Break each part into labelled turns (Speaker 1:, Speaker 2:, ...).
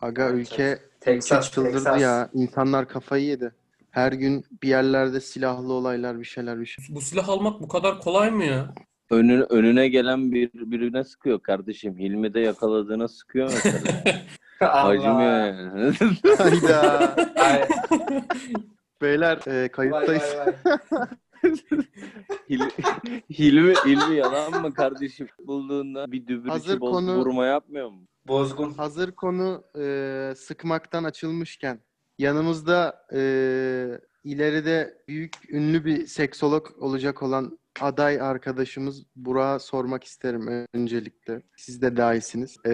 Speaker 1: Aga ülke,
Speaker 2: Texas,
Speaker 1: ülke çıldırdı
Speaker 2: Texas.
Speaker 1: ya. İnsanlar kafayı yedi. Her gün bir yerlerde silahlı olaylar bir şeyler bir şey.
Speaker 3: Bu silah almak bu kadar kolay mı ya?
Speaker 4: Önü, önüne gelen bir, birine sıkıyor kardeşim. Hilmi de yakaladığına sıkıyor mesela.
Speaker 2: Allah.
Speaker 4: Acımıyor yani.
Speaker 1: Hayda.
Speaker 2: Ay,
Speaker 1: Beyler e,
Speaker 2: vay,
Speaker 1: kayıttayız.
Speaker 2: vay, vay.
Speaker 4: Hil- Hilmi, Hilmi yalan mı kardeşim? Bulduğunda bir dübür
Speaker 1: Hazır
Speaker 4: içi bol-
Speaker 1: konu-
Speaker 4: vurma yapmıyor mu?
Speaker 2: Bozgun.
Speaker 1: Hazır konu e, sıkmaktan açılmışken yanımızda e, ileride büyük ünlü bir seksolog olacak olan aday arkadaşımız Burak'a sormak isterim öncelikle. Siz de dahisiniz. E,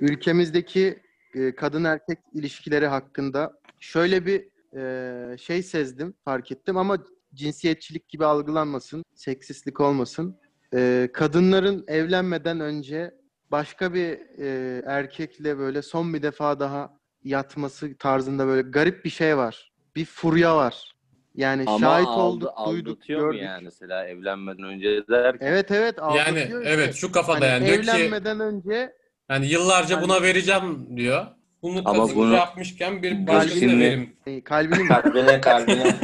Speaker 1: ülkemizdeki e, kadın erkek ilişkileri hakkında şöyle bir e, şey sezdim, fark ettim ama cinsiyetçilik gibi algılanmasın, seksistlik olmasın. E, kadınların evlenmeden önce başka bir e, erkekle böyle son bir defa daha yatması tarzında böyle garip bir şey var. Bir furya var. Yani
Speaker 4: Ama
Speaker 1: E, şahit
Speaker 4: aldı-
Speaker 1: olduk, duyduk,
Speaker 4: aldatıyor mu
Speaker 1: gördük. E,
Speaker 4: yani mesela evlenmeden önce derken?
Speaker 1: Evet evet
Speaker 3: Yani
Speaker 1: aldatıyor işte.
Speaker 3: evet şu kafada
Speaker 1: Hani
Speaker 3: yani diyor ki
Speaker 1: evlenmeden önce
Speaker 3: yani yıllarca
Speaker 1: Hani-
Speaker 3: buna vereceğim diyor. Bunu
Speaker 4: Ama
Speaker 3: kazık
Speaker 4: bunu-
Speaker 3: yapmışken bir
Speaker 4: Bu
Speaker 3: başkasına
Speaker 4: şimdi-
Speaker 3: verim.
Speaker 1: e, kalbinin
Speaker 2: Kalbine kalbine.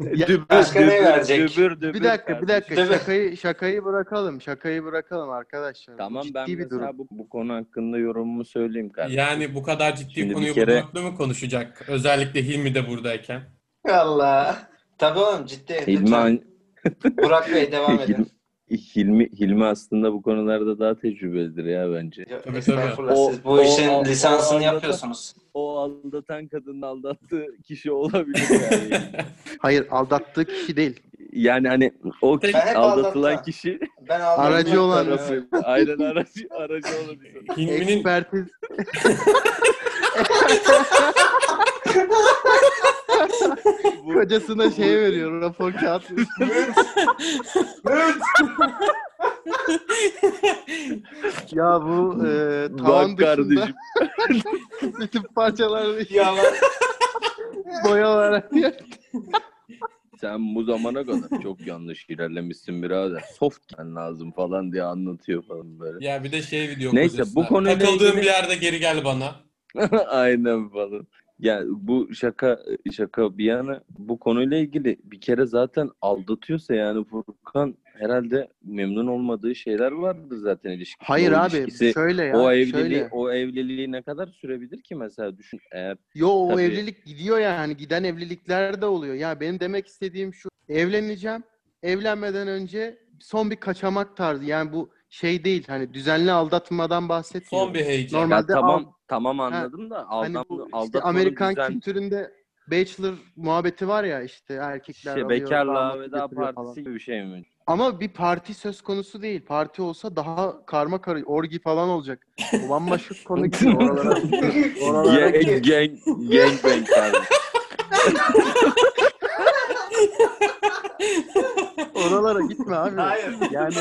Speaker 4: Dübür,
Speaker 2: Başka ne verecek?
Speaker 4: dübür, dübür
Speaker 1: bir dakika bir dakika
Speaker 2: Değil mi?
Speaker 1: şakayı şakayı bırakalım. Şakayı bırakalım arkadaşlar. Bu
Speaker 4: Tamam
Speaker 1: Ciddi
Speaker 4: ben
Speaker 1: bir durum.
Speaker 4: mesela bu, bu konu hakkında yorumumu söyleyeyim kardeşim.
Speaker 3: Yani bu kadar ciddi
Speaker 4: Şimdi bir
Speaker 3: konuyu bu
Speaker 4: kere-
Speaker 3: dörtlü mü konuşacak? Özellikle Hilmi de buradayken.
Speaker 2: Allah. Tabii oğlum ciddi.
Speaker 4: Hilmi,
Speaker 2: Lütfen.
Speaker 4: an-
Speaker 2: Burak Bey devam edin.
Speaker 4: Hilmi, Hilmi aslında bu konularda daha tecrübelidir ya bence.
Speaker 2: Yok,
Speaker 3: tabii.
Speaker 2: Estağfurullah.
Speaker 4: O-
Speaker 2: Siz bu
Speaker 4: o-
Speaker 2: işin
Speaker 4: o- o
Speaker 2: lisansını
Speaker 4: aldatan-
Speaker 2: yapıyorsunuz.
Speaker 4: O aldatan kadının aldattığı kişi olabilir yani.
Speaker 1: Hayır aldattığı kişi değil.
Speaker 4: yani hani o
Speaker 2: Ben
Speaker 4: kişi,
Speaker 2: hep
Speaker 4: aldatılan
Speaker 2: aldatan.
Speaker 4: kişi
Speaker 2: Ben aldım.
Speaker 1: Aracı olan-
Speaker 4: tarafı. Aynen aracı, aracı olan insan.
Speaker 3: Hilmi'nin
Speaker 1: Ekspertiz
Speaker 4: Bu-
Speaker 1: kocasına şey veriyor rapor kağıt. ya bu e, tavan
Speaker 4: Bak
Speaker 1: dışında
Speaker 4: kardeşim.
Speaker 1: bütün parçalarını
Speaker 2: Ya lan.
Speaker 1: boya olarak
Speaker 4: Sen bu zamana kadar çok yanlış ilerlemişsin birader. Soft gitmen lazım falan diye anlatıyor falan böyle.
Speaker 3: ya bir de şey video
Speaker 4: Neyse,
Speaker 3: koyuyorsun
Speaker 4: bu
Speaker 3: abi.
Speaker 4: konuyla
Speaker 3: Takıldığın
Speaker 4: ilgili-
Speaker 3: bir yerde geri gel bana.
Speaker 4: Aynen falan. Ya bu şaka şaka bir yana bu konuyla ilgili bir kere zaten aldatıyorsa yani Furkan herhalde memnun olmadığı şeyler vardır zaten ilişki.
Speaker 1: Hayır
Speaker 4: o
Speaker 1: abi
Speaker 4: ilişkisi-
Speaker 1: şöyle ya.
Speaker 4: o evliliği
Speaker 1: şöyle.
Speaker 4: o evliliği ne kadar sürebilir ki mesela düşün eğer
Speaker 1: Yo o
Speaker 4: Tabii.
Speaker 1: evlilik gidiyor yani giden evlilikler de oluyor. Ya benim demek istediğim şu evleneceğim. Evlenmeden önce son bir kaçamak tarzı yani bu şey değil hani düzenli aldatmadan bahsetmiyorum.
Speaker 3: Son bir heyecan.
Speaker 1: Normal-
Speaker 4: Ya
Speaker 1: Normalde
Speaker 4: tamam
Speaker 1: al-
Speaker 4: tamam anladım da
Speaker 1: hani
Speaker 4: aldan
Speaker 1: bu işte
Speaker 4: aldatmanın
Speaker 1: Amerikan
Speaker 4: düzen-
Speaker 1: kültüründe bachelor muhabbeti var ya işte erkekler
Speaker 4: şey,
Speaker 1: alıyor,
Speaker 4: bekarlığa
Speaker 1: damat
Speaker 4: veda
Speaker 1: getiriyor
Speaker 4: partisi
Speaker 1: falan.
Speaker 4: gibi bir şey mi?
Speaker 1: Ama bir parti söz konusu değil. Parti olsa daha karma karı orgi falan olacak. O bambaşka konu ki oralara. oralara
Speaker 4: Ye- Gang gangbang tarzı.
Speaker 1: Oralara gitme abi.
Speaker 2: Hayır.
Speaker 1: Yani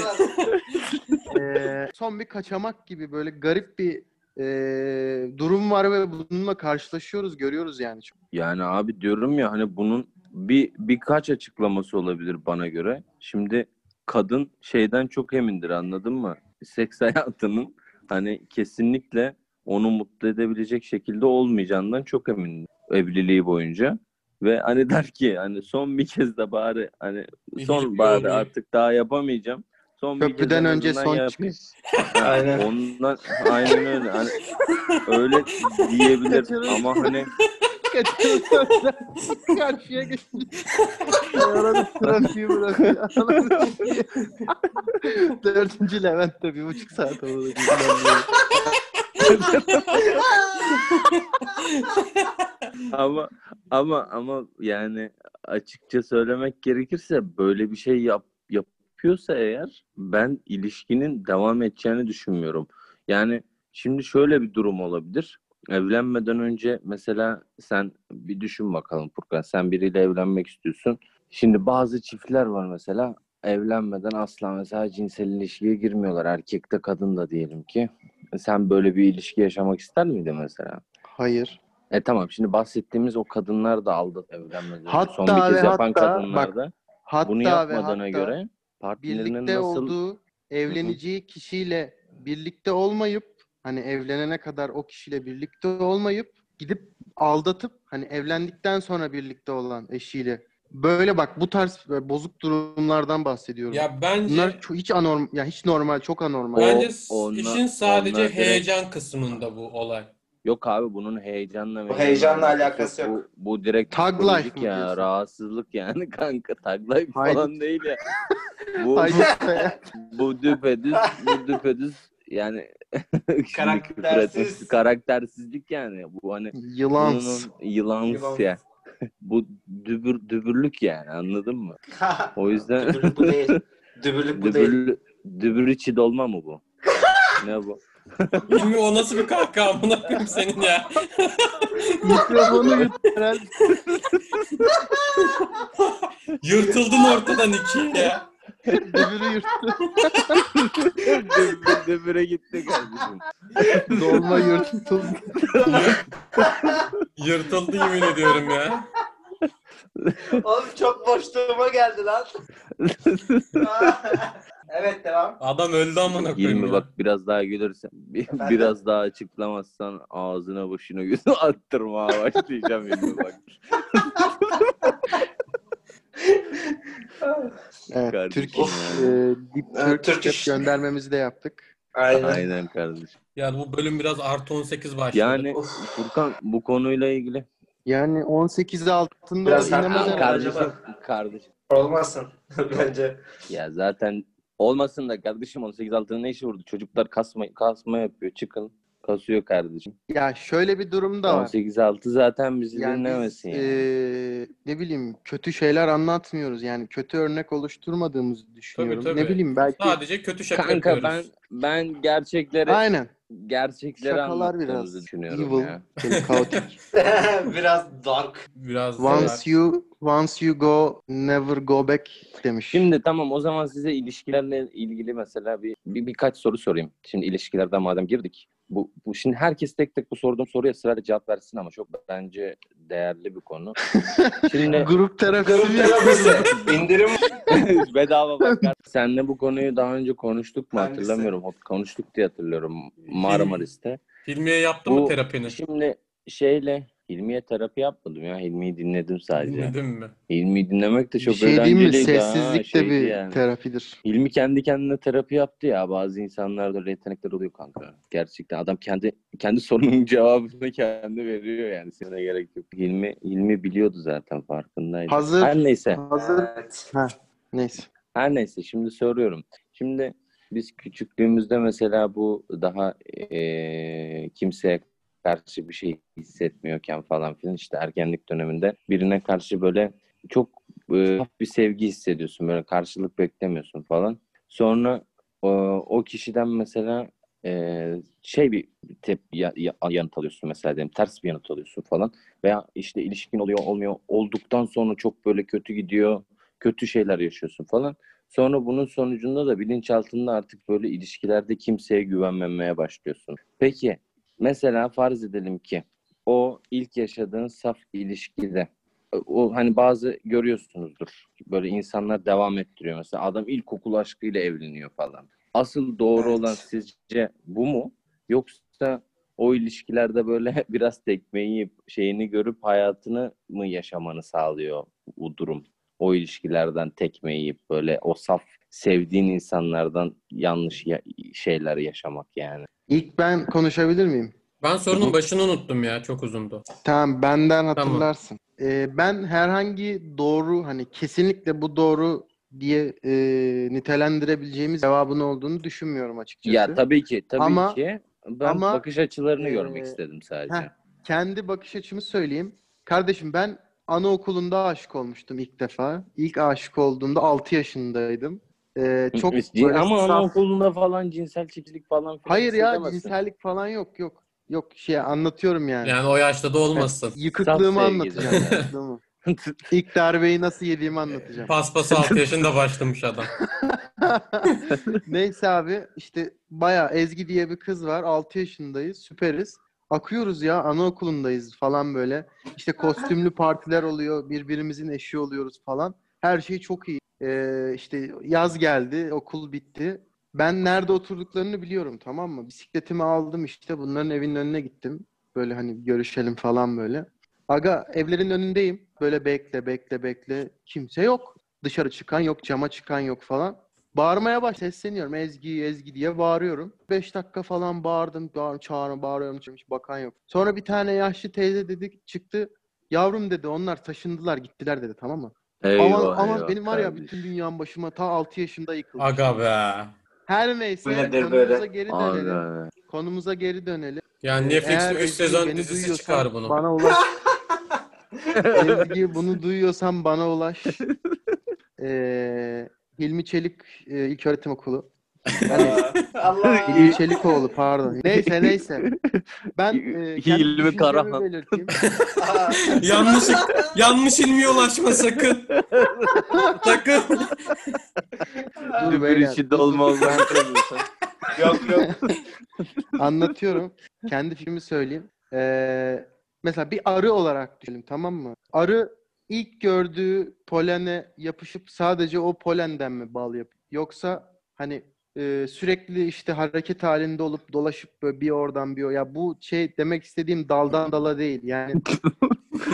Speaker 1: eee, Ee, son bir kaçamak gibi böyle garip bir eee, durum var ve bununla karşılaşıyoruz, görüyoruz yani. Çok-
Speaker 4: Yani abi diyorum ya hani bunun bir birkaç açıklaması olabilir bana göre. Şimdi kadın şeyden çok emindir anladın mı? Seks hayatının hani kesinlikle onu mutlu edebilecek şekilde olmayacağından çok emin evliliği boyunca. Ve hani der ki hani son bir kez de bari hani
Speaker 3: Bir
Speaker 4: son
Speaker 3: ilişki
Speaker 4: bari
Speaker 3: olmayı.
Speaker 4: artık daha yapamayacağım. Son bir kez
Speaker 1: Köprüden
Speaker 4: en
Speaker 1: önce
Speaker 4: azından
Speaker 1: son
Speaker 4: yapayım.
Speaker 1: çıkış.
Speaker 2: Aynen.
Speaker 4: Ondan aynen öyle. Hani öyle diyebilir ama hani
Speaker 1: Kaçıyoruz. Karşıya geçmiş. Oranın trafiği bırakıyor. Dördüncü Levent'te bir buçuk saat oldu.
Speaker 4: ama ama ama yani açıkça söylemek gerekirse böyle bir şey yap, yapıyorsa eğer ben ilişkinin devam edeceğini düşünmüyorum. Yani şimdi şöyle bir durum olabilir. Evlenmeden önce mesela sen bir düşün bakalım Furkan. Sen biriyle evlenmek istiyorsun. Şimdi bazı çiftler var mesela evlenmeden asla mesela cinsel ilişkiye girmiyorlar. Erkek de kadın da diyelim ki. Sen böyle bir ilişki yaşamak ister miydin mesela?
Speaker 1: Hayır.
Speaker 4: E tamam şimdi bahsettiğimiz o kadınlar da aldı evlenmeden.
Speaker 1: Hatta
Speaker 4: Son bir kez
Speaker 1: ve
Speaker 4: yapan
Speaker 1: hatta,
Speaker 4: kadınlar
Speaker 1: bak,
Speaker 4: da
Speaker 1: Hatta
Speaker 4: bunu
Speaker 1: ve hatta
Speaker 4: yapmadığına göre partnerinin
Speaker 1: birlikte
Speaker 4: nasıl
Speaker 1: olduğu evleneceği kişiyle birlikte olmayıp hani evlenene kadar o kişiyle birlikte olmayıp gidip aldatıp hani evlendikten sonra birlikte olan eşiyle böyle bak bu tarz böyle bozuk durumlardan bahsediyorum.
Speaker 3: Ya bence
Speaker 1: Bunlar ço- hiç anormal ya hiç normal çok anormal.
Speaker 4: O-
Speaker 3: bence
Speaker 4: onlar-
Speaker 3: işin sadece
Speaker 4: onlar direkt-
Speaker 3: heyecan kısmında bu olay.
Speaker 4: Yok abi bunun heyecanla
Speaker 2: Bu heyecanla alakası
Speaker 4: Bu, bu direkt
Speaker 1: Tag
Speaker 4: psikolojik
Speaker 1: life mi
Speaker 4: ya
Speaker 1: diyorsun?
Speaker 4: rahatsızlık yani kanka tag life
Speaker 1: Haydi.
Speaker 4: falan değil ya. bu
Speaker 1: Ay,
Speaker 4: bu düpedüz bu düpedüz yani şimdi küfür
Speaker 2: Karaktersiz.
Speaker 4: etmesi- karaktersizlik yani bu hani
Speaker 1: Yılans.
Speaker 4: bunun yılans
Speaker 2: Yılans.
Speaker 4: ya. bu dübür dübürlük yani anladın mı? O yüzden
Speaker 2: Dübürlük bu değil. Dübürlük bu değil.
Speaker 4: dübür dübür içi dolma mı bu? ne bu?
Speaker 3: Hilmi o nasıl bir kahkaha amına koyayım senin ya.
Speaker 1: Mikrofonu yut herhalde.
Speaker 3: Yırtıldın ortadan ikiye ya.
Speaker 1: Öbürü yırttı.
Speaker 4: Dübür- dübüre gitti kardeşim.
Speaker 1: Dolma yırtıldı.
Speaker 3: Yırtıldı yemin ediyorum ya.
Speaker 2: Oğlum çok boşluğuma geldi lan. evet devam.
Speaker 3: Adam öldü amına koyayım.
Speaker 4: Hilmi
Speaker 3: ya.
Speaker 4: bak biraz daha gülürsen, bir-
Speaker 2: Efendim?
Speaker 4: biraz daha açıklamazsan ağzına başına gözü attırmaya başlayacağım Hilmi bak.
Speaker 1: Evet,
Speaker 4: Kardeşim
Speaker 1: Türk
Speaker 4: ya.
Speaker 1: iş, e, Deep
Speaker 2: Evet,
Speaker 1: Turkish
Speaker 2: Türk
Speaker 1: Chef
Speaker 2: iş.
Speaker 1: göndermemizi de yaptık.
Speaker 2: Aynen.
Speaker 4: Aynen kardeşim.
Speaker 3: Yani bu bölüm biraz artı 18 başladı.
Speaker 4: Yani
Speaker 2: Of.
Speaker 4: Furkan bu konuyla ilgili Ah,
Speaker 1: Yani 18 altında
Speaker 2: Biraz
Speaker 1: inanamadım.
Speaker 2: haklı
Speaker 1: herhalde.
Speaker 4: kardeşim
Speaker 2: acaba?
Speaker 4: kardeşim
Speaker 2: Olmasın bence.
Speaker 4: ya zaten olmasın da kardeşim 18 altına ne işi vurdu? Çocuklar kasma kasma yapıyor. Çıkın kasıyor kardeşim.
Speaker 1: Ya şöyle bir durum da var.
Speaker 4: 18 altı zaten bizi
Speaker 1: Yani biz,
Speaker 4: dinlemesin yani.
Speaker 1: e, ne bileyim kötü şeyler anlatmıyoruz. Yani kötü örnek oluşturmadığımızı düşünüyorum. Ne
Speaker 3: tabii.
Speaker 1: bileyim belki
Speaker 3: Sadece kötü şaka
Speaker 4: Kanka
Speaker 3: yapıyoruz.
Speaker 4: ben ben gerçekleri
Speaker 1: aynen.
Speaker 4: gerçekleri
Speaker 1: Şakalar
Speaker 4: anlattığımızı
Speaker 1: biraz
Speaker 4: düşünüyorum
Speaker 1: evil.
Speaker 4: ya.
Speaker 1: Böyle kaotik.
Speaker 2: Biraz dark.
Speaker 3: Biraz daha-
Speaker 1: once you once you go never go back demiş.
Speaker 4: Şimdi tamam o zaman size ilişkilerle ilgili mesela bir, bir birkaç soru sorayım. Şimdi ilişkilerden madem girdik. Bu, bu şimdi herkes tek tek bu sorduğum soruya sırayla cevap versin ama çok bence değerli bir konu. Şimdi
Speaker 1: grup terapisi
Speaker 2: Grup
Speaker 1: mi?
Speaker 2: terapisi. İndirim.
Speaker 4: bedava bakar. Senle bu konuyu daha önce konuştuk mu
Speaker 2: Hangisi?
Speaker 4: hatırlamıyorum. Konuştuk diye hatırlıyorum Marmaris'te.
Speaker 3: Hilmi'ye yaptın
Speaker 4: Bu-
Speaker 3: mı terapini?
Speaker 4: Şimdi şeyle Hilmi'ye terapi yapmadım ya. Hilmi'yi dinledim sadece.
Speaker 3: Dinledin mi?
Speaker 4: Hilmi'yi dinlemek de
Speaker 1: Bir
Speaker 4: çok
Speaker 1: şey diyeyim mi?
Speaker 4: eğlenceliydi. ha,
Speaker 1: Sessizlik de
Speaker 4: şeydi
Speaker 1: bir
Speaker 4: şey yani.
Speaker 1: terapidir.
Speaker 4: Hilmi kendi kendine terapi yaptı ya. Bazı insanlarda öyle yetenekler oluyor kanka. Gerçekten adam kendi kendi sorunun cevabını kendi veriyor yani. Size gerek yok. Hilmi, Hilmi biliyordu zaten farkındaydı.
Speaker 1: Hazır-
Speaker 4: Her neyse.
Speaker 1: Hazır.
Speaker 2: Evet.
Speaker 1: Neyse.
Speaker 4: Her neyse şimdi soruyorum. Şimdi biz küçüklüğümüzde mesela bu daha eee, kimseye karşı bir şey hissetmiyorken falan filan işte ergenlik döneminde birine karşı böyle çok eee, hafif bir sevgi hissediyorsun böyle karşılık beklemiyorsun falan. Sonra o, o kişiden mesela eee, şey bir tepki ya- ya- yanıt alıyorsun mesela diyelim ters bir yanıt alıyorsun falan veya işte ilişkin oluyor olmuyor olduktan sonra çok böyle kötü gidiyor kötü şeyler yaşıyorsun falan. Sonra bunun sonucunda da bilinçaltında artık böyle ilişkilerde kimseye güvenmemeye başlıyorsun. Peki mesela farz edelim ki o ilk yaşadığın saf ilişkide o hani bazı görüyorsunuzdur. Böyle insanlar devam ettiriyor mesela adam ilkokul aşkıyla evleniyor falan. Asıl doğru
Speaker 2: Evet.
Speaker 4: olan sizce bu mu? Yoksa o ilişkilerde böyle biraz tekmeyi yiyip şeyini görüp hayatını mı yaşamanı sağlıyor bu durum? o ilişkilerden tekme yiyip böyle o saf sevdiğin insanlardan yanlış ya- şeyler yaşamak yani.
Speaker 1: İlk ben konuşabilir miyim?
Speaker 3: Ben sorunun başını unuttum ya. Çok uzundu.
Speaker 1: Tamam benden
Speaker 3: Tamam.
Speaker 1: hatırlarsın. Ee, ben herhangi doğru hani kesinlikle bu doğru diye e, nitelendirebileceğimiz cevabın olduğunu düşünmüyorum açıkçası.
Speaker 4: Ya tabii ki tabii
Speaker 1: Ama-
Speaker 4: ki ben
Speaker 1: ama,
Speaker 4: bakış açılarını görmek
Speaker 1: eee,
Speaker 4: istedim sadece.
Speaker 1: heh. Kendi bakış açımı söyleyeyim. Kardeşim ben anaokulunda aşık olmuştum ilk defa. İlk aşık olduğumda 6 yaşındaydım. Ee, çok
Speaker 4: Cin-
Speaker 1: böyle
Speaker 4: ama
Speaker 1: saf-
Speaker 4: anaokulunda falan cinsel çiftlik falan filan
Speaker 1: Hayır ya
Speaker 4: hissedemezsin.
Speaker 1: cinsellik falan yok yok. Yok şey anlatıyorum yani.
Speaker 3: Yani o yaşta da olmasın.
Speaker 1: Yıkıklığımı
Speaker 4: Saf
Speaker 1: anlatacağım.
Speaker 4: sevgili.
Speaker 1: yıkıklığımı. İlk darbeyi nasıl yediğimi anlatacağım.
Speaker 3: Paspası 6 yaşında başlamış adam.
Speaker 1: Neyse abi işte bayağı Ezgi diye bir kız var. 6 yaşındayız. Süperiz. Akıyoruz ya anaokulundayız falan böyle. İşte kostümlü partiler oluyor. Birbirimizin eşi oluyoruz falan. Her şey çok iyi. Ee, işte yaz geldi. Okul bitti. ben nerede oturduklarını biliyorum tamam mı? Bisikletimi aldım işte bunların evinin önüne gittim. Böyle hani görüşelim falan böyle. Aga evlerin önündeyim. Böyle bekle bekle bekle. Kimse yok. Dışarı çıkan yok, cama çıkan yok falan. Bağırmaya baş sesleniyorum. Ezgi, Ezgi diye bağırıyorum. 5 dakika falan bağırdım. Bağır, çağırıyorum, bağırıyorum. Hiç bakan yok. Sonra bir tane yaşlı teyze dedik çıktı. Yavrum dedi onlar taşındılar gittiler dedi tamam mı?
Speaker 4: Eyvah,
Speaker 1: Aman, aman
Speaker 4: eyvah
Speaker 1: benim var ya
Speaker 4: kardeşim.
Speaker 1: bütün dünyam başıma ta 6 yaşında yıkıldı.
Speaker 3: Aga be.
Speaker 1: Her neyse
Speaker 2: Bu nedir
Speaker 1: konumuza
Speaker 2: böyle?
Speaker 1: geri
Speaker 4: Abi,
Speaker 1: dönelim.
Speaker 4: abi.
Speaker 1: Konumuza geri dönelim.
Speaker 3: Yani
Speaker 1: Eğer
Speaker 3: Netflix'te 3
Speaker 1: Ezgi
Speaker 3: sezon
Speaker 1: beni
Speaker 3: dizisi
Speaker 1: duyuyorsan
Speaker 3: çıkar bunun.
Speaker 1: Bana ulaş. Ezgi bunu duyuyorsan bana ulaş. Ee, Hilmi Çelik e, İlköğretim Okulu. Yani
Speaker 2: Allah.
Speaker 1: Hilmi Çelikoğlu pardon. Neyse neyse. Ben e, kendi
Speaker 4: Hilmi
Speaker 1: düşüncemi
Speaker 4: Karahan.
Speaker 1: belirteyim.
Speaker 2: Aa,
Speaker 3: yanlış yanlış ilmiye ulaşma sakın. sakın.
Speaker 1: Dur
Speaker 4: Dübür
Speaker 1: beyler,
Speaker 4: içi
Speaker 1: dur, dur.
Speaker 4: dolmaz.
Speaker 2: yok yok.
Speaker 1: Anlatıyorum. Kendi fikrimi söyleyeyim. Ee, mesela bir arı olarak düşünelim tamam mı? Arı ilk gördüğü polene yapışıp sadece o polenden mi bal yapıyor? Yoksa hani e, sürekli işte hareket halinde olup dolaşıp böyle bir oradan bir o. Ya bu şey demek istediğim daldan dala değil. Yani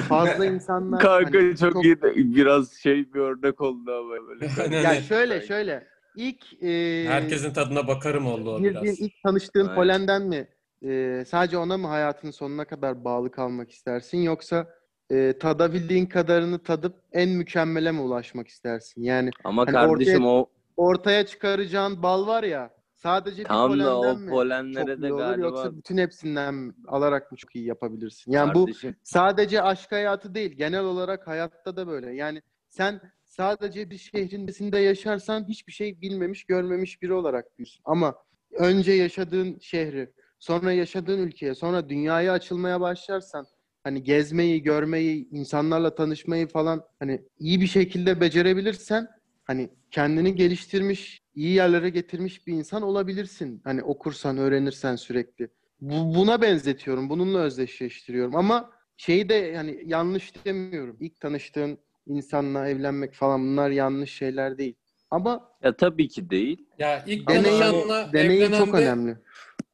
Speaker 1: fazla insanlar hani
Speaker 4: Kanka çok iyi. de- Biraz şey bir örnek oldu ama böyle.
Speaker 3: Aynen.
Speaker 1: Ya şöyle şöyle. İlk e,
Speaker 3: Herkesin tadına bakarım oldu o
Speaker 1: girdiğin
Speaker 3: biraz.
Speaker 1: ilk tanıştığın
Speaker 4: Aynen.
Speaker 1: polenden mi e, sadece ona mı hayatının sonuna kadar bağlı kalmak istersin yoksa e, tadabildiğin kadarını tadıp en mükemmele mi ulaşmak istersin? Yani
Speaker 4: Ama
Speaker 1: Hani
Speaker 4: kardeşim o
Speaker 1: ortaya çıkaracağın bal var ya sadece bir
Speaker 4: tam
Speaker 1: polenden
Speaker 4: da o
Speaker 1: mi çok
Speaker 4: polenlere de
Speaker 1: iyi olur
Speaker 4: galiba
Speaker 1: yoksa bütün hepsinden mi alarak mı çok iyi yapabilirsin? Yani bu
Speaker 4: kardeşim
Speaker 1: sadece aşk hayatı değil genel olarak hayatta da böyle. Yani sen sadece bir şehrin içinde yaşarsan hiçbir şey bilmemiş görmemiş biri olarak büyürsün. Ama önce yaşadığın şehri sonra yaşadığın ülkeye sonra dünyaya açılmaya başlarsan hani gezmeyi görmeyi insanlarla tanışmayı falan hani iyi bir şekilde becerebilirsen hani kendini geliştirmiş iyi yerlere getirmiş bir insan olabilirsin. Hani okursan öğrenirsen sürekli. Bu, buna benzetiyorum. Bununla özdeşleştiriyorum ama şeyi de yani yanlış demiyorum. İlk tanıştığın insanla evlenmek falan bunlar yanlış şeyler değil. Ama
Speaker 4: ya tabii ki değil.
Speaker 3: Ya ilk
Speaker 1: Deneyim-
Speaker 3: tanışanla
Speaker 1: deneyim çok
Speaker 3: evlenende-
Speaker 1: önemli.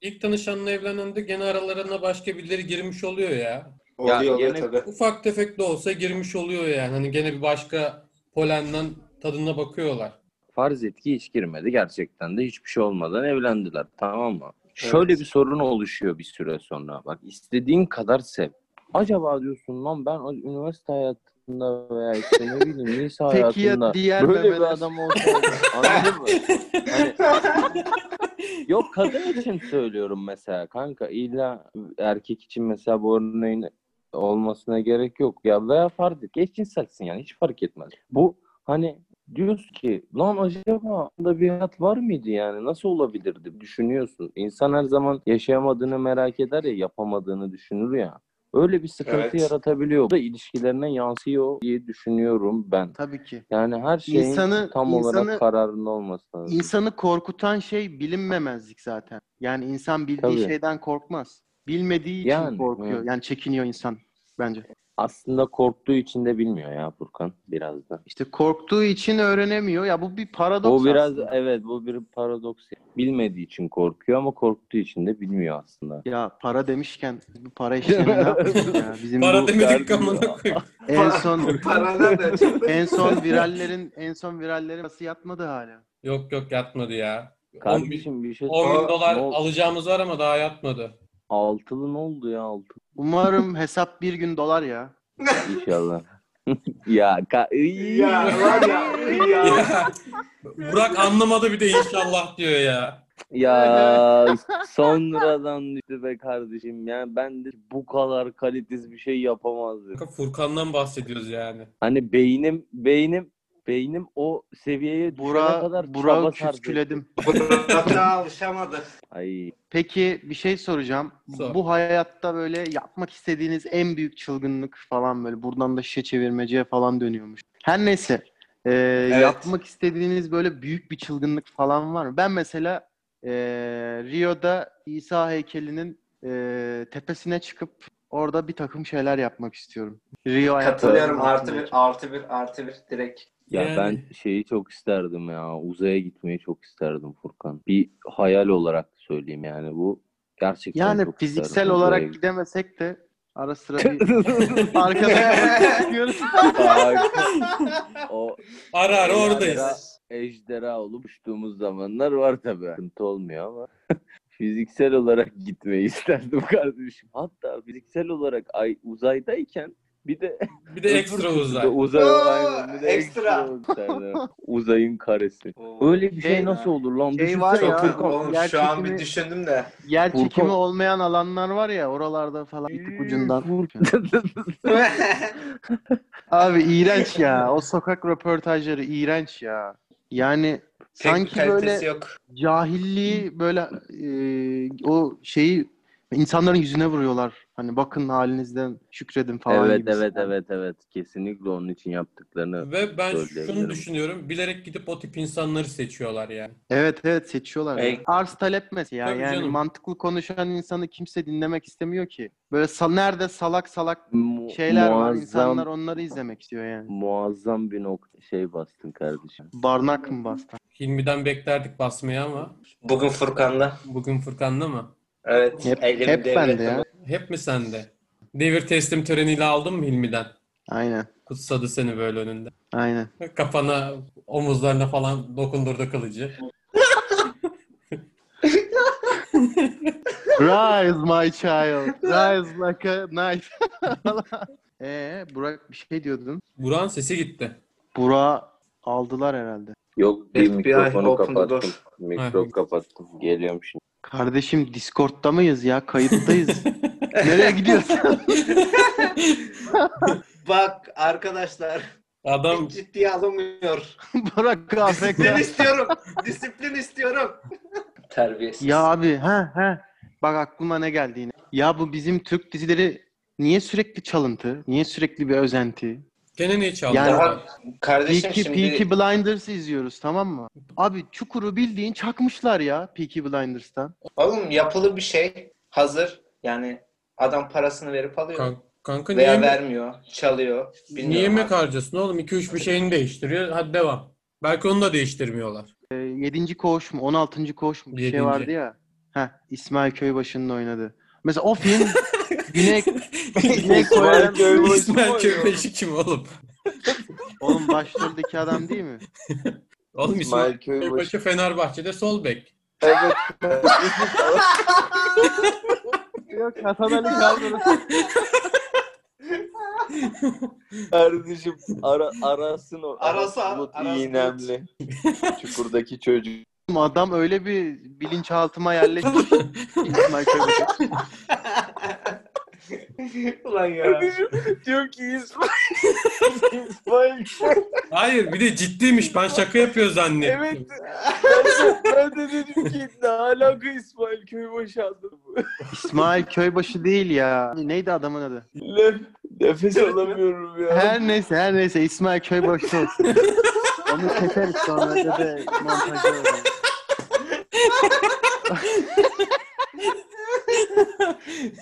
Speaker 3: İlk tanışanla evlenende gene aralarına başka birileri girmiş oluyor ya.
Speaker 2: Oluyor
Speaker 4: Ya,
Speaker 2: oluyor
Speaker 4: gene-
Speaker 2: tabii.
Speaker 3: Ufak tefek de olsa girmiş oluyor yani. Hani gene bir başka polenden tadına bakıyorlar.
Speaker 4: Farz et ki hiç girmedi. Gerçekten de hiçbir şey olmadan evlendiler. Tamam mı? Şöyle bir sorun oluşuyor bir süre sonra. Bak istediğin kadar sev. Acaba diyorsun lan ben o- üniversite hayatında veya işte ne bileyim lise
Speaker 1: Peki ya
Speaker 4: hayatında
Speaker 1: diğer
Speaker 4: böyle
Speaker 1: memeler?
Speaker 4: bir adam olsaydı anladın mı? Hani, yok kadın için söylüyorum mesela kanka illa erkek için mesela bu örneğin olmasına gerek yok ya veya fark et eşcinselsin yani hiç fark etmez. Bu hani diyorsun ki lan acaba da bir hayat var mıydı yani nasıl olabilirdi düşünüyorsun. İnsan her zaman yaşayamadığını merak eder ya yapamadığını düşünür ya. Öyle bir sıkıntı
Speaker 2: Evet.
Speaker 4: yaratabiliyor. Bu da ilişkilerine yansıyor diye düşünüyorum ben.
Speaker 1: Tabii ki.
Speaker 4: Yani her şeyin
Speaker 1: İnsanı-
Speaker 4: tam
Speaker 1: insanı-
Speaker 4: olarak kararında olması lazım.
Speaker 1: İnsanı korkutan şey bilinmemezlik zaten. Yani insan bildiği
Speaker 4: Tabii.
Speaker 1: şeyden korkmaz. Bilmediği için
Speaker 4: Yani,
Speaker 1: korkuyor.
Speaker 4: evet.
Speaker 1: Yani çekiniyor insan bence.
Speaker 4: Aslında korktuğu için de bilmiyor ya Furkan biraz da.
Speaker 1: İşte korktuğu için öğrenemiyor. Ya bu bir paradoks
Speaker 4: Bu biraz
Speaker 1: aslında.
Speaker 4: evet bu bir paradoks. Bilmediği için korkuyor ama korktuğu için de bilmiyor aslında.
Speaker 1: Ya para demişken biz bu para işlerini ne yaptık ya? Bizim
Speaker 3: Para
Speaker 1: bu
Speaker 3: demedik
Speaker 4: derdi-
Speaker 3: amına koyayım.
Speaker 1: en son
Speaker 2: Paradan da çıktı.
Speaker 1: en son virallerin en son virallerin nasıl yatmadı hala?
Speaker 3: Yok yok yatmadı ya. 10 bin,
Speaker 4: Kardeşim bir şey
Speaker 3: 10 bin
Speaker 4: Aa,
Speaker 3: dolar
Speaker 4: ne oldu?
Speaker 3: alacağımız var ama daha yatmadı.
Speaker 4: Altılı ne oldu ya altılı
Speaker 1: Umarım hesap bir gün dolar ya.
Speaker 4: inşallah. ya ka İyi.
Speaker 2: Ya var ya. Ya.
Speaker 3: Ya, Burak anlamadı bir de inşallah diyor ya.
Speaker 4: Ya sonradan düştü be kardeşim. Yani ben de bu kadar kalitesiz bir şey yapamazdım.
Speaker 3: Furkan'dan bahsediyoruz yani.
Speaker 4: Hani beynim beynim beynim o seviyeye düşene
Speaker 1: Bura
Speaker 4: kadar
Speaker 1: bura
Speaker 4: çaba sarf etti.
Speaker 1: küsküledim.
Speaker 2: Buna alışamadı.
Speaker 4: Ay
Speaker 1: Peki bir şey soracağım.
Speaker 3: Sor.
Speaker 1: Bu hayatta böyle yapmak istediğiniz en büyük çılgınlık falan böyle buradan da şişe çevirmeceye falan dönüyormuş. Her neyse. Ee, Yapmak istediğiniz böyle büyük bir çılgınlık falan var mı? Ben mesela ee, Rio'da İsa heykelinin ee, tepesine çıkıp orada bir takım şeyler yapmak istiyorum. Rio hayatı-
Speaker 2: Katılıyorum. Artı bir, artı bir, artı bir direkt.
Speaker 4: Ya
Speaker 3: Yani-
Speaker 4: ben şeyi çok isterdim ya. Uzaya gitmeyi çok isterdim Furkan. Bir hayal olarak söyleyeyim yani bu gerçekten
Speaker 1: Yani
Speaker 4: çok isterdim
Speaker 1: fiziksel
Speaker 4: uzaya
Speaker 1: olarak
Speaker 4: gitmeyi.
Speaker 1: gidemesek de ara sıra bir arkadaşımızla gidiyoruz.
Speaker 4: Bak, o
Speaker 3: Ara
Speaker 4: Yani
Speaker 3: ara oradayız.
Speaker 4: ara- ejderha olup uçtuğumuz zamanlar var tabii. Sıkıntı olmuyor ama fiziksel olarak gitmeyi isterdim kardeşim. Hatta fiziksel olarak ay uzaydayken bir de
Speaker 3: Bir de ekstra uzay.
Speaker 4: uzay
Speaker 2: Aa,
Speaker 4: aynen, bir de
Speaker 2: ekstra.
Speaker 4: ekstra uzaydı. uzayın karesi.
Speaker 2: Oo.
Speaker 4: Öyle bir şey,
Speaker 1: Şey-
Speaker 4: nasıl olur lan?
Speaker 1: Şey
Speaker 4: Düşünsene
Speaker 1: var ya,
Speaker 4: Furkan.
Speaker 2: Oğlum
Speaker 1: Yer
Speaker 2: şu an bir
Speaker 1: çekimi-
Speaker 2: düşündüm de.
Speaker 1: Yer
Speaker 4: Furkan.
Speaker 1: çekimi olmayan alanlar var ya oralarda falan bir tık ucundan. Abi iğrenç ya. O sokak röportajları iğrenç ya. Yani
Speaker 2: Pek
Speaker 1: sanki
Speaker 2: kalitesi
Speaker 1: böyle
Speaker 2: yok.
Speaker 1: cahilliği böyle e, o şeyi insanların yüzüne vuruyorlar. Hani bakın halinizden şükredin falan
Speaker 4: evet
Speaker 1: gibisinden.
Speaker 4: evet evet evet. Kesinlikle onun için yaptıklarını.
Speaker 3: Ve ben şunu
Speaker 4: Söyleyebilirim.
Speaker 3: düşünüyorum. Bilerek gidip o tip insanları seçiyorlar yani.
Speaker 1: Evet evet seçiyorlar.
Speaker 2: Ey.
Speaker 1: Arz talep mesela
Speaker 3: Tabii
Speaker 1: yani
Speaker 3: canım.
Speaker 1: mantıklı konuşan insanı kimse dinlemek istemiyor ki. Böyle sa- nerede salak salak
Speaker 4: Mu-
Speaker 1: şeyler var
Speaker 4: muazzam,
Speaker 1: insanlar onları izlemek istiyor yani.
Speaker 4: muazzam bir nokta şey bastın kardeşim.
Speaker 1: Barnak mı bastı?
Speaker 3: Hilmi'den beklerdik basmayı ama
Speaker 2: Bugün Furkan'la.
Speaker 3: bugün Furkan'da mı?
Speaker 2: Evet.
Speaker 1: Hep-
Speaker 2: elimi
Speaker 1: hep bende
Speaker 2: devrettim.
Speaker 1: ya.
Speaker 3: Hep mi sende? Devir teslim töreniyle aldın mı Hilmi'den?
Speaker 1: Aynen.
Speaker 3: Kutsadı seni böyle önünde.
Speaker 1: Aynen.
Speaker 3: Kafana, omuzlarına falan dokundurdu kılıcı.
Speaker 1: Rise my child. Rise like a knife. Ee Burak bir şey diyordun.
Speaker 3: Burak'ın sesi gitti.
Speaker 1: Burak aldılar herhalde.
Speaker 4: Yok
Speaker 2: bir
Speaker 4: bir
Speaker 2: FBI
Speaker 4: mikrofonu
Speaker 2: mikrofonu opened the door.
Speaker 4: kapattım.
Speaker 2: kapattım.
Speaker 3: Mikro
Speaker 4: Mikro kapattım. Geliyorum şimdi.
Speaker 1: Kardeşim Discord'da mıyız ya? Kayıttayız. Nereye gidiyorsun?
Speaker 2: Bak arkadaşlar.
Speaker 3: Adam
Speaker 2: hiç Ciddiye alınmıyor.
Speaker 1: Burak
Speaker 2: Disiplin
Speaker 1: AFK.
Speaker 2: istiyorum. Disiplin istiyorum. Terbiyesiz.
Speaker 1: Ya abi ha ha. Bak aklıma ne geldi yine. Ya bu bizim Türk dizileri niye sürekli çalıntı? Niye sürekli bir özenti?
Speaker 3: gene neyi çaldı?
Speaker 1: Yani-
Speaker 2: Daha kardeşim
Speaker 1: Peaky,
Speaker 2: şimdi
Speaker 1: Peaky Blinders'ı izliyoruz tamam mı? Abi çukuru bildiğin çakmışlar ya Peaky Blinders'tan.
Speaker 2: oğlum yapılı bir şey hazır. Yani adam parasını verip alıyor.
Speaker 3: Kan- Kanka niye,
Speaker 2: Veya
Speaker 3: yemek-
Speaker 2: vermiyor, çalıyor. Bilmiyorum
Speaker 3: niye yemek
Speaker 2: abi.
Speaker 3: harcasın oğlum? 2-3 bir şeyini değiştiriyor. Hadi devam. Belki onu da değiştirmiyorlar.
Speaker 1: Ee, 7. koğuş mu 16. koğuş mu bir şey
Speaker 3: Yedinci.
Speaker 1: vardı ya. Heh, İsmail Köybaşı'nın oynadı. Mesela o film Güney, Güney
Speaker 4: İsmail
Speaker 1: Kore'den...
Speaker 4: Köybaşı.
Speaker 3: İsmail Köpeşi kim oğlum?
Speaker 1: Oğlum başroldeki adam değil mi?
Speaker 3: Oğlum İsmail
Speaker 4: İsmail Köybaşı.
Speaker 3: Köybaşı Fenerbahçe'de sol bek.
Speaker 4: Evet.
Speaker 1: Yok Hasan Ali Kaldırır.
Speaker 4: Kardeşim ara, arasın o.
Speaker 2: Arası,
Speaker 4: Arasın o
Speaker 2: arası.
Speaker 4: iğnemli. Çukurdaki çocuk.
Speaker 1: Adam öyle bir bilinçaltıma yerleşmiş. İsmail Köybaşı.
Speaker 2: Ulan ya. şey
Speaker 4: diyor ki İsmail. İsmail.
Speaker 3: Hayır bir de ciddiymiş. Ben şaka yapıyor zannettim.
Speaker 4: Evet. Ben de, ben de dedim ki ne alaka İsmail Köybaşı adı bu.
Speaker 1: İsmail Köybaşı değil ya. Neydi adamın adı?
Speaker 4: Nef- nefes alamıyorum ya.
Speaker 1: Her neyse her neyse İsmail Köybaşı olsun. Onu keseriz sonra öyle de montajı olur.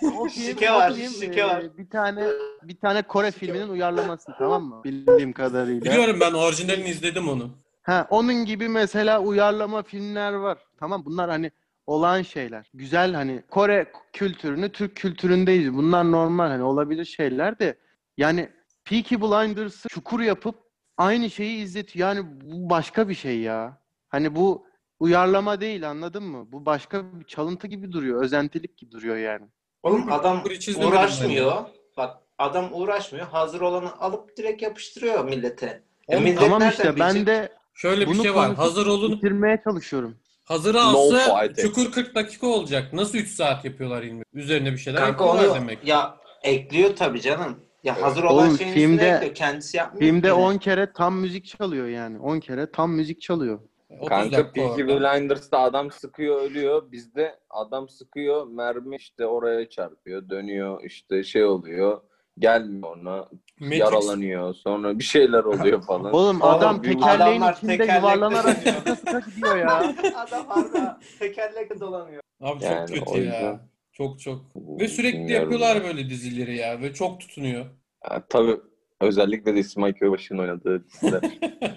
Speaker 1: O film-
Speaker 2: Şike
Speaker 1: o
Speaker 2: var,
Speaker 1: film,
Speaker 2: şike
Speaker 1: e,
Speaker 2: var.
Speaker 1: Bir tane bir tane Kore filminin uyarlaması tamam mı? Bildiğim kadarıyla.
Speaker 3: Biliyorum ben orijinalini izledim onu.
Speaker 1: Ha, onun gibi mesela uyarlama filmler var. Tamam bunlar hani olan şeyler. Güzel hani Kore kültürünü Türk kültüründeyiz. Bunlar normal hani olabilir şeyler de. Yani Peaky Blinders'ı çukur yapıp aynı şeyi izletiyor. Yani bu başka bir şey ya. Hani bu uyarlama değil anladın mı? Bu başka bir çalıntı gibi duruyor. Özentilik gibi duruyor yani.
Speaker 2: Oğlum adam
Speaker 3: Hiç izlemedim
Speaker 2: uğraşmıyor. Bak adam uğraşmıyor. Hazır olanı alıp direkt yapıştırıyor millete. E,
Speaker 3: Oğlum,
Speaker 2: millet
Speaker 1: tamam
Speaker 2: nereden
Speaker 1: işte ben
Speaker 2: bilecek?
Speaker 1: de
Speaker 3: Şöyle bir
Speaker 1: Bunu
Speaker 3: şey var.
Speaker 1: konuşup-
Speaker 3: Hazır olun.
Speaker 1: bitirmeye çalışıyorum.
Speaker 3: Hazır
Speaker 4: No
Speaker 3: alsa
Speaker 4: fighting.
Speaker 3: çukur 40 dakika olacak. Nasıl 3 saat yapıyorlar ilmi? Üzerine bir şeyler
Speaker 2: Kanka
Speaker 3: yapıyorlar
Speaker 2: onu
Speaker 3: demek.
Speaker 2: ya ekliyor tabii canım. Ya hazır
Speaker 1: Evet.
Speaker 2: olan
Speaker 1: Oğlum,
Speaker 2: şeyin
Speaker 1: filmde-
Speaker 2: üstüne ekliyor. Kendisi yapmıyor.
Speaker 1: Filmde
Speaker 2: ki.
Speaker 1: 10 kere tam müzik çalıyor yani. 10 kere tam müzik çalıyor.
Speaker 3: 30
Speaker 4: Kanka
Speaker 3: dakika
Speaker 4: Peaky
Speaker 3: orada.
Speaker 4: Blinders'ta adam sıkıyor ölüyor. Bizde adam sıkıyor mermi işte oraya çarpıyor. Dönüyor işte şey oluyor. Gelmiyor ona.
Speaker 3: Matrix-
Speaker 4: Yaralanıyor. Sonra bir şeyler oluyor falan.
Speaker 1: Oğlum
Speaker 2: Oğlum,
Speaker 1: adam
Speaker 4: bir-
Speaker 1: tekerleğin
Speaker 2: adamlar
Speaker 1: içinde
Speaker 2: tekerlekle
Speaker 1: yuvarlanarak
Speaker 2: dönüyor.
Speaker 1: sıka sıka gidiyor ya.
Speaker 2: Adam harbi tekerlekle dolanıyor.
Speaker 3: Abi
Speaker 4: Yani
Speaker 3: çok kötü
Speaker 4: o
Speaker 3: ya.
Speaker 4: yüzden-
Speaker 3: Çok çok. Ve
Speaker 4: Bilmiyorum
Speaker 3: sürekli yapıyorlar
Speaker 4: ya.
Speaker 3: böyle dizileri ya. Ve çok tutunuyor.
Speaker 4: Ya, tabii Özellikle de İsmail Köybaşı'nın oynadığı diziler.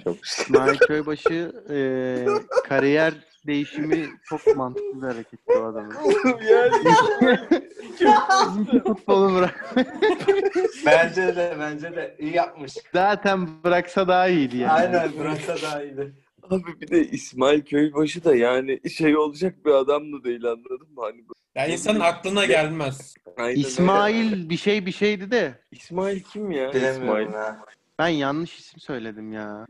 Speaker 4: Çok
Speaker 1: İsmail Köybaşı e, kariyer değişimi çok mantıklı bir hareket bu adamın.
Speaker 4: yani.
Speaker 1: Futbolu bırak.
Speaker 2: Bence de bence de iyi yapmış.
Speaker 1: Zaten bıraksa daha iyiydi yani.
Speaker 2: Aynen bıraksa daha iyiydi.
Speaker 4: Abi bir de İsmail Köybaşı da yani şey olacak bir adam da değil anladın mı? Hani böyle-
Speaker 3: Ya insanın aklına gelmez.
Speaker 4: Aynen öyle.
Speaker 1: İsmail bir şey bir şeydi de
Speaker 4: İsmail kim ya?
Speaker 2: Bilemiyorum ha.
Speaker 1: ben yanlış isim söyledim ya.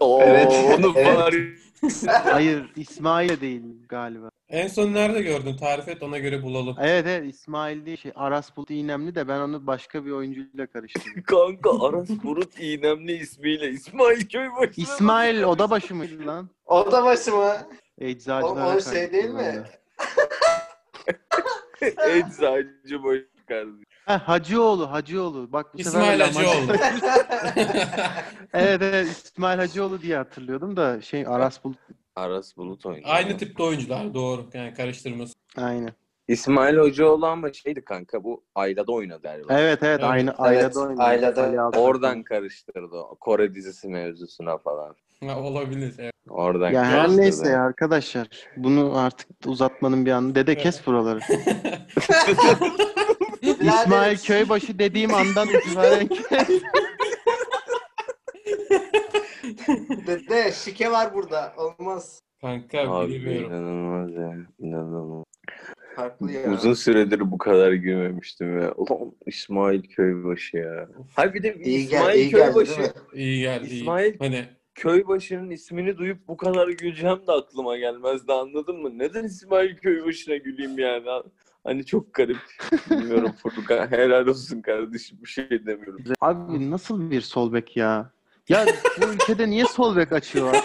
Speaker 4: Oo,
Speaker 2: Evet.
Speaker 4: Onu
Speaker 2: Evet.
Speaker 4: bari.
Speaker 1: Hayır İsmail de değil galiba.
Speaker 3: En son nerede gördün? Tarif et ona göre bulalım.
Speaker 1: Evet evet İsmail değil şey Aras Bulut İynemli de ben onu başka bir oyuncuyla karıştırdım.
Speaker 4: Kanka Aras Bulut İğnemli ismiyle İsmail Köybaşı.
Speaker 1: İsmail oda başı mıydı lan?
Speaker 2: O da başı mı?
Speaker 1: Eczacılar.
Speaker 2: Oğlum, o şey değil mi?
Speaker 4: Eczacı boyu kardeşim.
Speaker 1: Ha, Hacıoğlu, Hacıoğlu. Bak bu sefer
Speaker 3: İsmail
Speaker 1: Lamacı-
Speaker 3: Hacıoğlu.
Speaker 1: evet evet İsmail Hacıoğlu diye hatırlıyordum da şey Aras Bulut.
Speaker 4: Aras Bulut oynuyor.
Speaker 3: Aynı tipte oyuncular doğru. Yani karıştırması.
Speaker 1: Aynen.
Speaker 4: İsmail Hocaoğlu ama şeydi kanka bu Ayla'da oynadı galiba.
Speaker 1: Evet evet
Speaker 3: Evet,
Speaker 1: aynı ailede oynuyor.
Speaker 2: ailede.
Speaker 1: Ali Altan.
Speaker 4: Oradan karıştırdı. o Kore dizisi mevzusuna falan.
Speaker 3: Ha, olabilir. Evet.
Speaker 4: Oradan
Speaker 1: Ya her
Speaker 4: karıştırdı.
Speaker 1: neyse ya arkadaşlar. Bunu artık uzatmanın bir anı. Dede kes buraları. İsmail Köybaşı dediğim andan itibaren
Speaker 2: Dede şike var burada. Olmaz.
Speaker 3: Kanka
Speaker 4: Abi
Speaker 3: bilmiyorum.
Speaker 4: inanılmaz ya. İnanılmaz.
Speaker 2: Farklı ya.
Speaker 4: Uzun süredir bu kadar gülmemiştim ya. Ulan İsmail Köybaşı ya. Hayır bir de
Speaker 2: İyi gel,
Speaker 4: İsmail
Speaker 2: iyi geldi değil mi?
Speaker 4: Köybaşı.
Speaker 3: İyi geldi. iyi.
Speaker 4: İsmail-
Speaker 3: Hani
Speaker 4: Köybaşı'nın ismini duyup bu kadar güleceğim de aklıma gelmezdi anladın mı? Neden İsmail Köybaşı'na güleyim yani? Hani çok garip. Bilmiyorum Furkan. Helal olsun kardeşim. Bir şey demiyorum.
Speaker 1: Abi nasıl bir sol bek ya? Ya bu ülkede niye sol bek açıyorlar?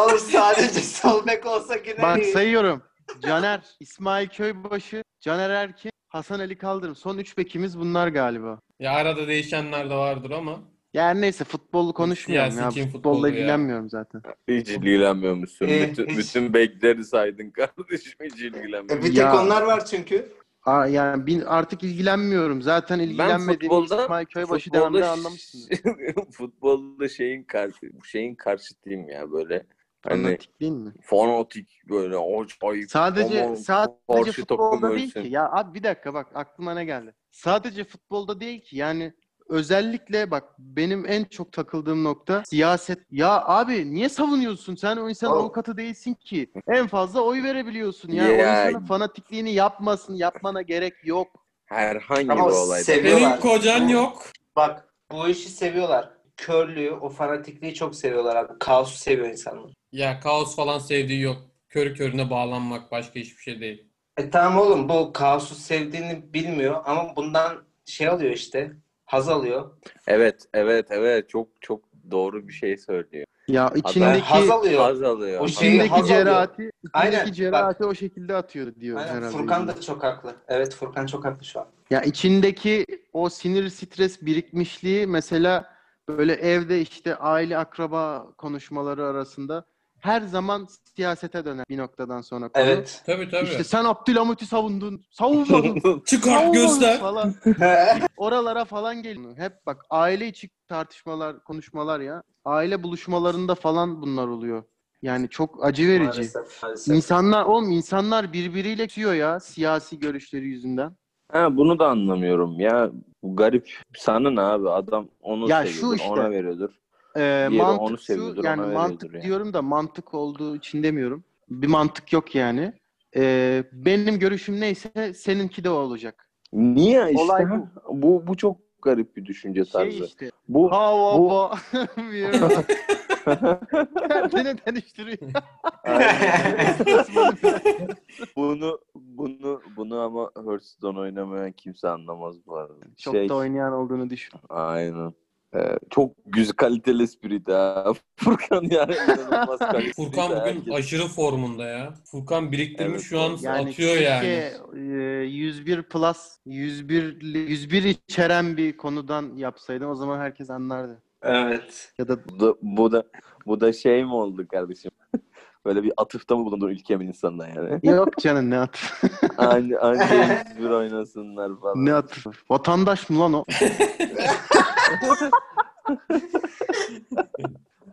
Speaker 2: Oğlum sadece sol bek olsa yine
Speaker 1: Bak
Speaker 2: iyi.
Speaker 1: sayıyorum. Caner, İsmail Köybaşı, Caner Erkin, Hasan Ali Kaldırım. Son üç bekimiz bunlar galiba.
Speaker 3: ya arada değişenler de vardır ama.
Speaker 1: Ya her neyse futbol konuşmuyorum
Speaker 3: Siyasi
Speaker 1: ya.
Speaker 3: kim futbolu
Speaker 1: Futbolla
Speaker 3: ya?
Speaker 1: ilgilenmiyorum zaten.
Speaker 4: Hiç ilgilenmiyor musun?
Speaker 2: Eh,
Speaker 4: bütün,
Speaker 2: hiç.
Speaker 4: bütün bekleri saydın kardeşim. Hiç ilgilenmiyor
Speaker 2: E, bir tek
Speaker 1: Ya.
Speaker 2: onlar var çünkü.
Speaker 1: Aa, yani bin, artık ilgilenmiyorum. Zaten ilgilenmediğim
Speaker 4: futbolda-
Speaker 1: İsmail Köybaşı
Speaker 4: Futbolda
Speaker 1: devamlı
Speaker 4: ş-
Speaker 1: anlamışsınız.
Speaker 4: futbolda şeyin karşı şeyin karşıtıyım ya böyle. Hani
Speaker 1: Fanatik değil mi?
Speaker 4: fanatik böyle acayip.
Speaker 1: Sadece
Speaker 4: aman
Speaker 1: sadece
Speaker 4: karşı
Speaker 1: futbolda
Speaker 4: takım
Speaker 1: değil
Speaker 4: ölsün.
Speaker 1: ki. Ya abi bir dakika bak aklıma ne geldi. Sadece futbolda değil ki. Yani özellikle bak benim en çok takıldığım nokta siyaset. Ya abi niye savunuyorsun? Sen o insanın
Speaker 2: Oğlum.
Speaker 1: avukatı değilsin ki. En fazla oy verebiliyorsun. Ya
Speaker 4: Ya.
Speaker 1: o insanın fanatikliğini yapmasın. Yapmana gerek yok.
Speaker 4: Herhangi
Speaker 2: Ama
Speaker 4: bir olayda.
Speaker 2: seviyorlar.
Speaker 3: Senin kocan yok.
Speaker 2: Bak bu işi seviyorlar. Körlüğü, o fanatikliği çok seviyorlar abi. Kaosu seviyor insanlar.
Speaker 3: Ya kaos falan sevdiği yok. Körü körüne bağlanmak başka hiçbir şey değil.
Speaker 2: E tamam oğlum bu kaosu sevdiğini bilmiyor ama bundan şey alıyor işte. Haz alıyor.
Speaker 4: Evet, evet, evet. Çok çok doğru bir şey söylüyor.
Speaker 1: Ya
Speaker 4: Ben-
Speaker 1: içindeki
Speaker 2: haz alıyor.
Speaker 4: Haz alıyor.
Speaker 2: O
Speaker 4: Haz-
Speaker 2: şeyi
Speaker 1: içindeki
Speaker 2: haz alıyor.
Speaker 1: cerahati,
Speaker 2: Aynen,
Speaker 1: içindeki
Speaker 2: bak.
Speaker 1: cerahati o şekilde atıyor diyor
Speaker 2: Aynen,
Speaker 1: herhalde.
Speaker 2: Furkan da çok haklı. Evet Furkan çok haklı şu an.
Speaker 1: Ya içindeki o sinir stres birikmişliği mesela böyle evde işte aile akraba konuşmaları arasında her zaman siyasete döner bir noktadan sonra. konu.
Speaker 2: Evet.
Speaker 3: Tabii tabii.
Speaker 1: İşte sen Abdülhamit'i savundun, savunmadın,
Speaker 3: Çıkart
Speaker 1: savunmadın
Speaker 3: göster.
Speaker 1: falan. Oralara falan geliyor. Hep bak aile içi tartışmalar, konuşmalar ya. Aile buluşmalarında falan bunlar oluyor. Yani çok acı verici.
Speaker 2: Maalesef, maalesef.
Speaker 1: İnsanlar oğlum insanlar birbiriyle küsüyor ya siyasi görüşleri yüzünden.
Speaker 4: Ha bunu da anlamıyorum ya. Bu garip. Sana ne abi? Adam onu
Speaker 1: Ya şu
Speaker 4: seviyordur,
Speaker 1: işte.
Speaker 4: ona veriyordur.
Speaker 1: Ee,
Speaker 4: Diğeri onu
Speaker 1: mantık şu
Speaker 4: seviyordur, ona
Speaker 1: yani
Speaker 4: veriyordur
Speaker 1: mantık
Speaker 4: yani.
Speaker 1: diyorum da mantık olduğu için demiyorum. Bir mantık yok yani. Ee, benim görüşüm neyse seninki de o olacak.
Speaker 4: Niye işte?
Speaker 1: Olay
Speaker 4: ha? Bu bu çok garip bir düşünce tarzı.
Speaker 1: Şey işte.
Speaker 4: Bu
Speaker 1: Hava
Speaker 4: bu-
Speaker 1: bu... Kendini
Speaker 4: Şey-
Speaker 1: dönüştürüyor.
Speaker 4: e, bunu bunu bunu ama Hearthstone oynamayan kimse anlamaz bu arada.
Speaker 1: Çok
Speaker 4: Şey,
Speaker 1: da oynayan olduğunu düşün.
Speaker 4: Aynen. Ee, çok güzel kaliteli espri ha. Furkan yani inanılmaz kaliteli.
Speaker 3: Furkan bugün aşırı formunda ya. Furkan biriktirmiş
Speaker 4: Evet,
Speaker 3: şu an
Speaker 1: Yani
Speaker 3: atıyor yani.
Speaker 1: keşke, e, 101 plus 101 li- 101 içeren bir konudan yapsaydın o zaman herkes anlardı.
Speaker 2: evet.
Speaker 1: Ya da
Speaker 4: bu da, bu da bu da şey mi oldu kardeşim? Böyle bir atıfta mı bulunur ülkemin insanına yani?
Speaker 1: Yok canım ne at?
Speaker 4: Aynı aynı James bir oynasınlar falan.
Speaker 1: ne at? Vatandaş mı lan o?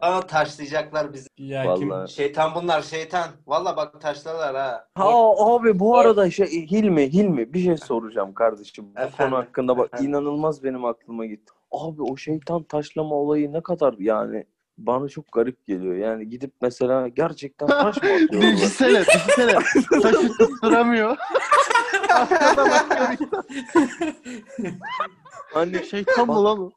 Speaker 2: Ama taşlayacaklar bizi.
Speaker 3: Ya kim
Speaker 4: Vallahi.
Speaker 2: Şeytan bunlar şeytan. Valla bak taşlarlar ha.
Speaker 4: Ha abi bu arada şey Hilmi Hilmi bir şey soracağım kardeşim. Bu
Speaker 2: Efendim?
Speaker 4: konu hakkında bak
Speaker 2: Efendim?
Speaker 4: inanılmaz benim aklıma gitti. Abi o şeytan taşlama olayı ne kadar yani bana çok garip geliyor. Yani gidip mesela gerçekten taş mı atıyorlar?
Speaker 1: Düşünsene, düşünsene. Taşı tutturamıyor.
Speaker 4: hani
Speaker 1: Şeytan mı lan o?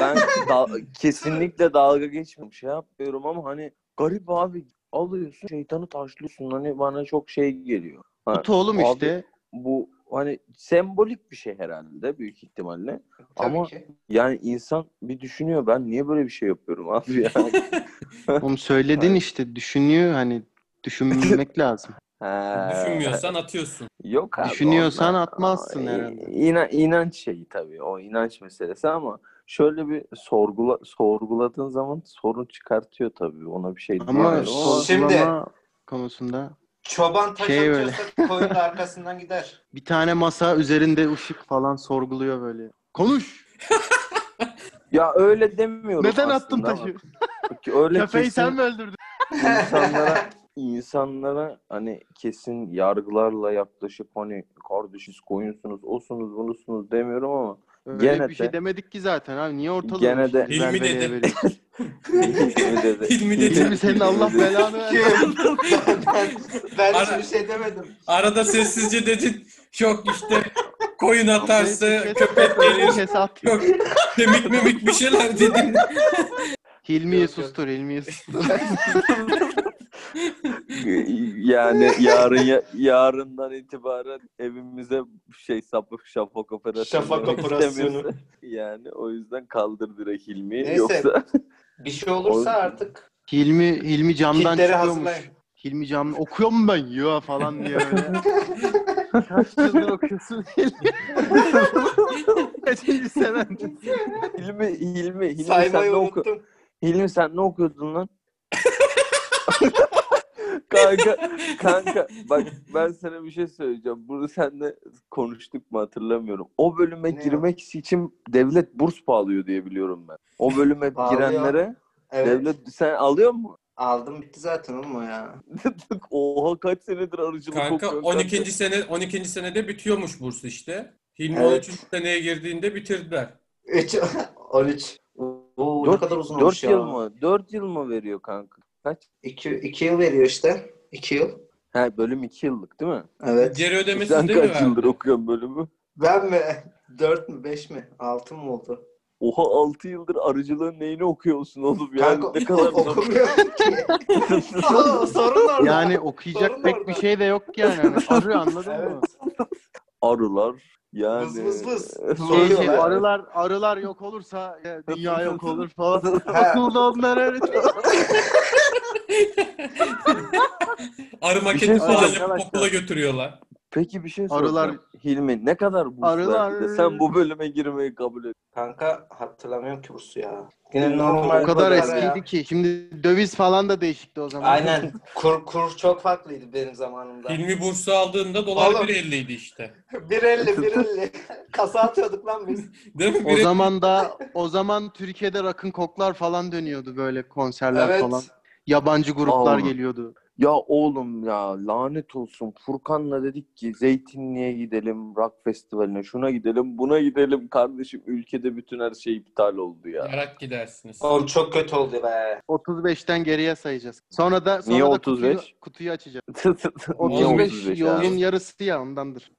Speaker 4: ben da- kesinlikle dalga geçmiyorum. Şey yapmıyorum ama hani garip abi alıyorsun şeytanı taşlıyorsun. Hani bana çok şey geliyor. Ha,
Speaker 1: Tut oğlum
Speaker 4: abi,
Speaker 1: işte.
Speaker 4: Bu hani sembolik bir şey herhalde büyük ihtimalle.
Speaker 2: Tabii
Speaker 4: Ama-
Speaker 2: ki.
Speaker 4: Yani insan bir düşünüyor ben niye böyle bir şey yapıyorum abi ya.
Speaker 1: Oğlum söyledin işte. Düşünüyor hani. Düşünmek lazım.
Speaker 4: He.
Speaker 3: düşünmüyorsan atıyorsun.
Speaker 4: Yok abi.
Speaker 1: Düşünüyorsan
Speaker 4: ondan-
Speaker 1: atmazsın
Speaker 4: Ama
Speaker 1: herhalde.
Speaker 4: inan- inanç şeyi tabii o inanç meselesi ama şöyle bir sorgula sorguladığın zaman sorun çıkartıyor tabii ona bir şey
Speaker 1: Ama
Speaker 4: diyemiyorum ama-
Speaker 1: sorgulama konusunda
Speaker 2: Çoban taş
Speaker 1: Şey böyle.
Speaker 2: atıyorsa koyun da arkasından gider.
Speaker 1: bir tane masa üzerinde ışık falan sorguluyor böyle. Konuş.
Speaker 4: Ya öyle demiyorum
Speaker 1: Neden
Speaker 4: aslında
Speaker 1: attın
Speaker 4: ama-
Speaker 1: taşı?
Speaker 4: Öyle
Speaker 1: Köpeği
Speaker 4: kesin
Speaker 1: sen mi öldürdün?
Speaker 4: insanlara insanlara hani kesin yargılarla yaklaşıp hani kardeşiz koyunsunuz osunuz bunusunuz demiyorum ama
Speaker 1: Öyle
Speaker 4: Gene
Speaker 1: bir
Speaker 4: de-
Speaker 1: şey demedik ki zaten abi. Niye ortalığı
Speaker 4: Gene
Speaker 1: şimdi
Speaker 4: de-
Speaker 3: Hilmi
Speaker 1: velveleye
Speaker 3: dedi.
Speaker 1: veriyorsun?
Speaker 4: Hilmi dedi.
Speaker 3: Hilmi dedi.
Speaker 1: Hilmi senin Allah
Speaker 4: dedi.
Speaker 1: belanı versin.
Speaker 2: ben, ben
Speaker 3: Ara-
Speaker 2: hiçbir şey demedim.
Speaker 3: Arada sessizce dedin. Yok işte koyun atarsa
Speaker 1: Kes-
Speaker 3: köpek gelir.
Speaker 1: kes at.
Speaker 3: Yok demik mimik bir şeyler dedin.
Speaker 1: Hilmi'yi
Speaker 2: Yok, yok.
Speaker 1: sustur, Hilmi'yi sustur.
Speaker 4: yani yarın ya- yarından itibaren evimize şey sapık şafak operasyonu.
Speaker 2: Şafak
Speaker 4: demek
Speaker 2: operasyonu.
Speaker 4: istemiyorsa Yani o yüzden kaldır direkt Hilmi'yi.
Speaker 2: Neyse.
Speaker 4: Yoksa
Speaker 2: Bir şey olursa
Speaker 4: Oğlum.
Speaker 2: artık
Speaker 1: Hilmi, Hilmi camdan
Speaker 2: kitleri
Speaker 1: çıkıyormuş.
Speaker 2: hazırlayın.
Speaker 1: Hilmi camdan okuyor mu ben? Yo falan diye böyle. Kaç yıldır okuyorsun Hilmi? Kaçıncı senen?
Speaker 4: Hilmi, Hilmi, Hilmi sen
Speaker 2: Saymayı
Speaker 4: ne oku?
Speaker 2: unuttum.
Speaker 4: Hilmi sen ne okuyordun lan? kanka, kanka bak ben sana bir şey söyleyeceğim. Bunu seninle konuştuk mu hatırlamıyorum. O bölüme
Speaker 2: Ne
Speaker 4: girmek için devlet burs bağlıyor diye biliyorum ben. O bölüme
Speaker 2: Bağlıyor.
Speaker 4: girenlere
Speaker 2: Evet.
Speaker 4: devlet sen alıyor mu?
Speaker 2: Aldım bitti zaten oğlum o ya.
Speaker 4: Oha kaç senedir arıcılık
Speaker 3: Kanka
Speaker 4: okuyorum
Speaker 3: 12. sene 12. senede bitiyormuş burs işte. Hilmi
Speaker 2: Evet.
Speaker 3: 13. seneye girdiğinde bitirdiler.
Speaker 2: 3 13. Oo, ne
Speaker 4: 4,
Speaker 2: kadar uzun olmuş
Speaker 4: 4
Speaker 2: ya.
Speaker 4: yıl mı? 4 yıl mı veriyor kanka? Kaç?
Speaker 2: 2 2 yıl veriyor işte. 2 yıl.
Speaker 4: He bölüm 2 yıllık değil mi?
Speaker 2: Evet.
Speaker 3: Geri ödemesi
Speaker 4: Sen
Speaker 3: değil mi?
Speaker 4: kaç
Speaker 3: verdi?
Speaker 4: yıldır okuyorsun bölümü?
Speaker 2: Ben mi? 4 mü 5 mi? 6 mı oldu?
Speaker 4: Oha 6 yıldır arıcılığın neyini okuyorsun oğlum ya?
Speaker 2: Kanka
Speaker 4: ne kadar
Speaker 2: okumuyorum ki. Aa, Sorun orada.
Speaker 1: Yani okuyacak
Speaker 2: Sorun
Speaker 1: pek
Speaker 2: orada.
Speaker 1: bir şey de yok yani. Hani arıyor anladın mı?
Speaker 2: evet.
Speaker 4: arılar yani.
Speaker 2: Vız vız vız.
Speaker 1: Şey,
Speaker 2: Soruyorlar.
Speaker 1: şey, arılar arılar yok olursa e, dünya yok olur falan.
Speaker 2: Ha.
Speaker 1: Okulda onlar öğretiyor.
Speaker 3: Arı maketi
Speaker 4: şey
Speaker 3: falan
Speaker 4: soracağım
Speaker 3: yapıp
Speaker 4: arkadaşlar.
Speaker 3: okula götürüyorlar.
Speaker 4: Peki bir şey soracağım.
Speaker 1: Arılar-
Speaker 4: Hilmi ne kadar burs
Speaker 1: Arılar-
Speaker 4: verdi de sen bu bölüme girmeyi kabul et.
Speaker 2: Kanka hatırlamıyorum ki bursu ya. Yine normal
Speaker 1: O kadar
Speaker 2: ya.
Speaker 1: eskiydi ki. Şimdi döviz falan da değişikti o zaman.
Speaker 2: Aynen. Kur, kur çok farklıydı benim zamanımda.
Speaker 3: Hilmi bursu aldığında dolar
Speaker 2: Oğlum.
Speaker 3: 1.50 idi işte.
Speaker 2: 1.50 1.50. Kasa atıyorduk lan biz.
Speaker 3: Değil mi?
Speaker 1: O
Speaker 3: Bir-
Speaker 1: zaman da o zaman Türkiye'de rakın koklar falan dönüyordu böyle konserler
Speaker 2: Evet.
Speaker 1: falan. Yabancı gruplar
Speaker 4: Oğlum.
Speaker 1: geliyordu.
Speaker 4: Ya oğlum ya lanet olsun. Furkan'la dedik ki Zeytinli'ye gidelim, rock festivaline şuna gidelim, buna gidelim kardeşim. Ülkede bütün her şey iptal oldu ya.
Speaker 3: Yarak gidersiniz.
Speaker 2: Oğlum çok kötü oldu be.
Speaker 1: 35'ten geriye sayacağız. Sonra da sonra
Speaker 4: Niye
Speaker 1: da
Speaker 4: 35?
Speaker 1: Kutuyu, kutuyu açacağız.
Speaker 4: Niye
Speaker 1: 35
Speaker 4: 35 abi?
Speaker 1: yolun yarısı ya ondandır.